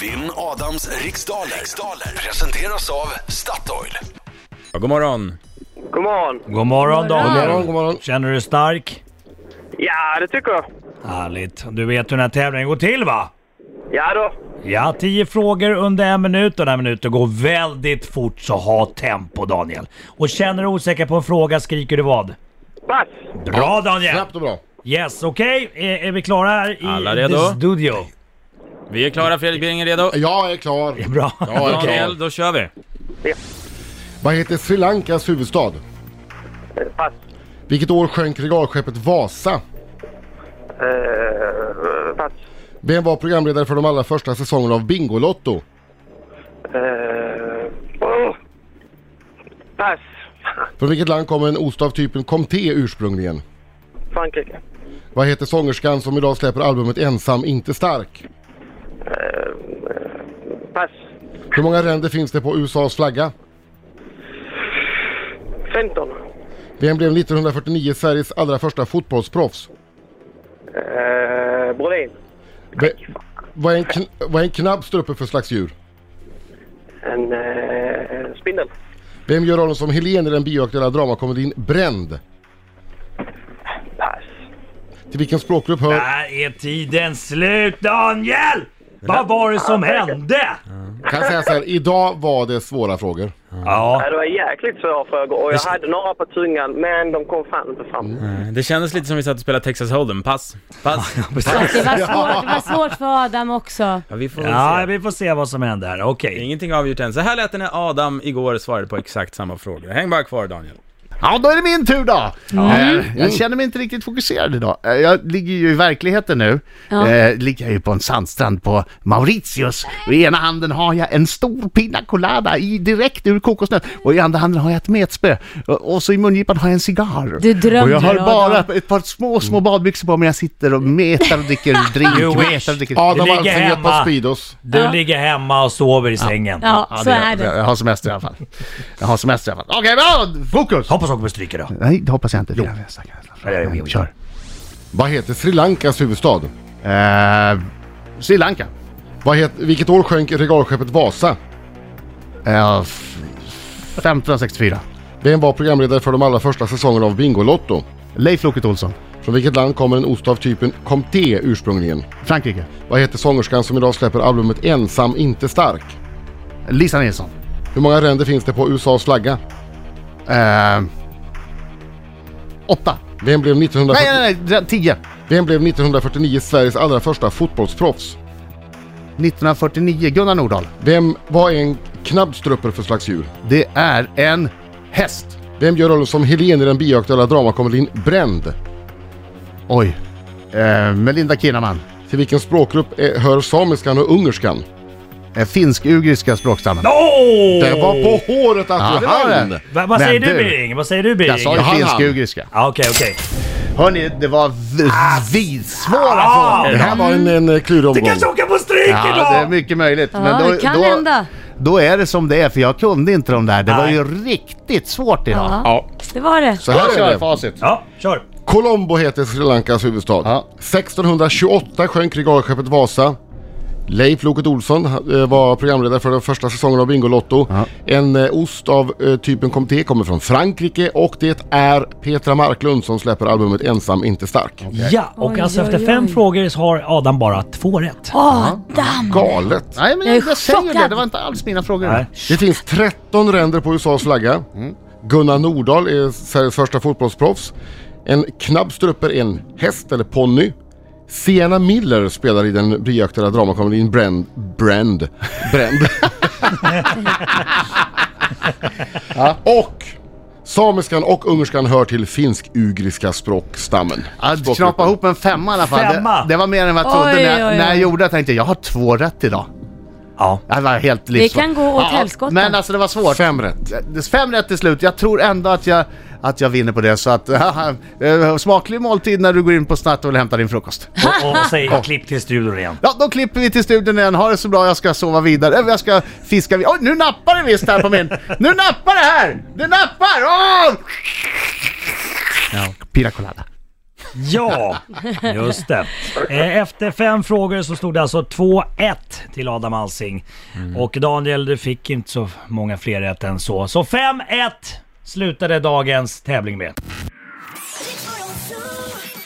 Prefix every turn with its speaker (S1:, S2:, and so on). S1: Vinn Adams riksdaler. riksdaler presenteras av Statoil.
S2: Ja, god morgon.
S3: God morgon.
S4: God morgon
S5: God morgon.
S4: Daniel. Känner du dig stark?
S3: Ja, det tycker jag.
S4: Härligt. Du vet hur den här tävlingen går till va?
S3: Ja då.
S4: Ja, tio frågor under en minut och den här minuten går väldigt fort så ha tempo Daniel. Och känner du osäker på en fråga skriker du vad?
S3: Pass.
S4: Bra Daniel!
S5: Snabbt och bra.
S4: Yes, okej. Är, är vi klara här i
S2: Alla redo?
S4: the studio?
S2: Vi är klara, Fredrik Bring är redo.
S5: Jag är klar.
S4: Bra.
S5: Jag är
S2: Daniel,
S5: klar.
S2: då kör vi.
S5: Vad heter Sri Lankas huvudstad?
S3: Eh, Pass.
S5: Vilket år sjönk regalskeppet Vasa?
S3: Eh, pass.
S5: Vem var programledare för de allra första säsongerna av Bingolotto?
S3: Eh, oh. Pass.
S5: Från vilket land kommer en ost av typen Comté ursprungligen?
S3: Frankrike.
S5: Vad heter sångerskan som idag släpper albumet Ensam inte stark?
S3: Pass.
S5: Hur många ränder finns det på USAs flagga?
S3: 15.
S5: Vem blev 1949 Sveriges allra första fotbollsproffs?
S3: Eh, Brolin.
S5: Ve- vad, är en kn- vad är en knabb strupe för slags djur?
S3: En eh, spindel.
S5: Vem gör rollen som Helene i den bioaktuella dramakomedin Bränd?
S3: Pass.
S5: Till vilken språkgrupp hör...
S4: Där är tiden slut Daniel! Vad var det som hände?
S5: Kan jag säga så här, idag var det svåra frågor.
S4: Ja,
S3: Ja, det var jäkligt svåra frågor och jag hade några på tungan men de kom fan inte fram.
S2: Det kändes lite som vi satt och spelade Texas Hold'em. Pass. Pass.
S4: precis.
S5: Ja.
S6: Alltså, Det var, svårt, det var svårt för Adam också.
S2: Ja, vi får väl
S4: Ja,
S2: se.
S4: vi får se vad som händer här. Okej.
S2: Ingenting avgjort än. Så här lät det när Adam igår svarade på exakt samma frågor. Häng bara kvar Daniel.
S7: Ja, då är det min tur då.
S6: Mm.
S7: Eh, jag känner mig inte riktigt fokuserad idag. Eh, jag ligger ju i verkligheten nu.
S6: Ja.
S7: Eh, ligger jag ju på en sandstrand på Mauritius. Och I ena handen har jag en stor pina colada i, direkt ur kokosnöt. Och i andra handen har jag ett metspö. Eh, Och, och så i mungipan har jag en cigarr.
S6: Du drömde
S7: och jag har
S6: då,
S7: bara
S6: Adam.
S7: ett par små, små badbyxor på mig. Jag sitter och metar och dricker
S4: You
S7: drink.
S4: wish.
S7: metar och dricker.
S5: Adam
S4: ligger
S5: Alsing ett
S4: hemma.
S5: par Speedos.
S4: Du
S6: Ja.
S4: ligger hemma och sover i sängen.
S6: Ja,
S7: Ja,
S6: så
S7: det-
S6: är det.
S7: Jag har semester i alla fall. Jag har semester i alla fall. Okej, bra! Fokus!
S4: Hoppas Håkan stryker då.
S7: Nej, det hoppas jag inte. Jo. Jag stackars. Kör.
S5: Vad heter Sri Lankas huvudstad?
S7: Eh, Sri Lanka.
S5: Vad heter, vilket år sjönk regalskeppet Vasa?
S7: Eh, f- 1564.
S5: Vem var programledare för de allra första säsongerna av Bingolotto?
S7: Leif Loket Olsson.
S5: Från vilket land kommer en ost av typen Comté ursprungligen?
S7: Frankrike.
S5: Vad heter sångerskan som idag släpper albumet Ensam inte stark?
S7: Lisa Nilsson.
S5: Hur många ränder finns det på USAs flagga?
S7: Eh, åtta.
S5: Vem blev, 1940
S7: Nej, nej, nej. Tio.
S5: Vem blev 1949 Sveriges allra första fotbollsproffs?
S7: 1949. Gunnar Nordahl.
S5: Vem var en knabbstrupper för slags djur?
S7: Det är en häst.
S5: Vem gör rollen som Helene i den bioaktuella dramakomedin Bränd?
S7: Oj. Eh, Melinda Kinnaman.
S5: Till vilken språkgrupp är, hör samiskan och ungerskan?
S7: Eh, Finsk-ugriska språkstammen.
S4: Åh!
S5: Det var på håret att du
S7: Aha,
S5: vann!
S7: det.
S4: Va, vad
S7: Men
S4: säger du
S7: du-
S4: Birging? Vad säger du Birging?
S7: Jag sa
S5: Jaha,
S7: ju
S5: han.
S7: finsk-ugriska.
S4: Ja, Okej, okej.
S7: Hörni, det var v- vidsvåra
S4: Ah!
S5: Det
S7: frågor.
S5: här var en, en eh, klurig
S4: Det
S5: omgång.
S4: kanske Håkan får stryk
S7: Ja, det är
S4: idag!
S7: mycket möjligt.
S6: Ja, det kan
S7: då,
S6: hända.
S7: Då är det som det är, för jag kunde inte de där. Det var
S4: Nej.
S7: ju riktigt svårt idag.
S6: Ja, det var det.
S5: Så här är det.
S7: facit.
S4: Ja, kör.
S5: Colombo heter Sri Lankas huvudstad.
S7: Ja.
S5: 1628 sjönk regalskeppet Vasa. Leif Loket Olsson eh, var programledare för den första säsongen av Bingolotto. En eh, ost av eh, typen Comté kommer från Frankrike och det är Petra Marklund som släpper albumet Ensam inte stark.
S4: Ja, och
S6: Oj,
S4: alltså
S6: oj,
S4: efter fem
S6: oj.
S4: frågor så har Adam bara två rätt.
S6: Adam!
S5: Galet!
S7: Nej, men
S6: Jag
S7: jag,
S6: är
S7: jag säger det.
S6: chockad.
S7: Det var inte alls mina frågor.
S4: Nej.
S5: Det finns 13 ränder på USAs flagga. Gunnar Nordahl är Sveriges första fotbollsproffs. En knabb strupper är en häst eller ponny. Sienna Miller spelar i den blyaktuella dramakomedin Brand... Brand... Brand. Och samiskan och ungerskan hör till finsk-ugriska språkstammen.
S7: Jag knappa ihop en femma i alla fall.
S4: Femma?
S7: Det, det var mer än vad jag trodde.
S6: Oj,
S7: när, jag,
S6: oj, oj.
S7: när jag gjorde det tänkte jag, jag har två rätt idag.
S4: Ja.
S7: Det var helt livsfarligt.
S6: kan gå åt helskotta.
S7: Men alltså det var svårt.
S5: Fem rätt.
S7: Det- Fem rätt till slut. Jag tror ändå att jag, att jag vinner på det. Så att, eh, smaklig måltid när du går in på Statoil och hämtar din frukost.
S4: Och, och säger klipp till studion igen.
S7: Ja, då klipper vi till studion igen. Ha det så bra, jag ska sova vidare. Eller jag ska fiska vidare. Oj, nu nappar det visst här på min! Nu nappar det här! Det nappar! Åh! Pina colada.
S4: Ja, just det. Eh, Efter fem frågor så stod det alltså 2-1 till Adam Alsing. Och Daniel, du fick inte så många fler rätt än så. Så 5-1 slutade dagens tävling med.
S8: Riks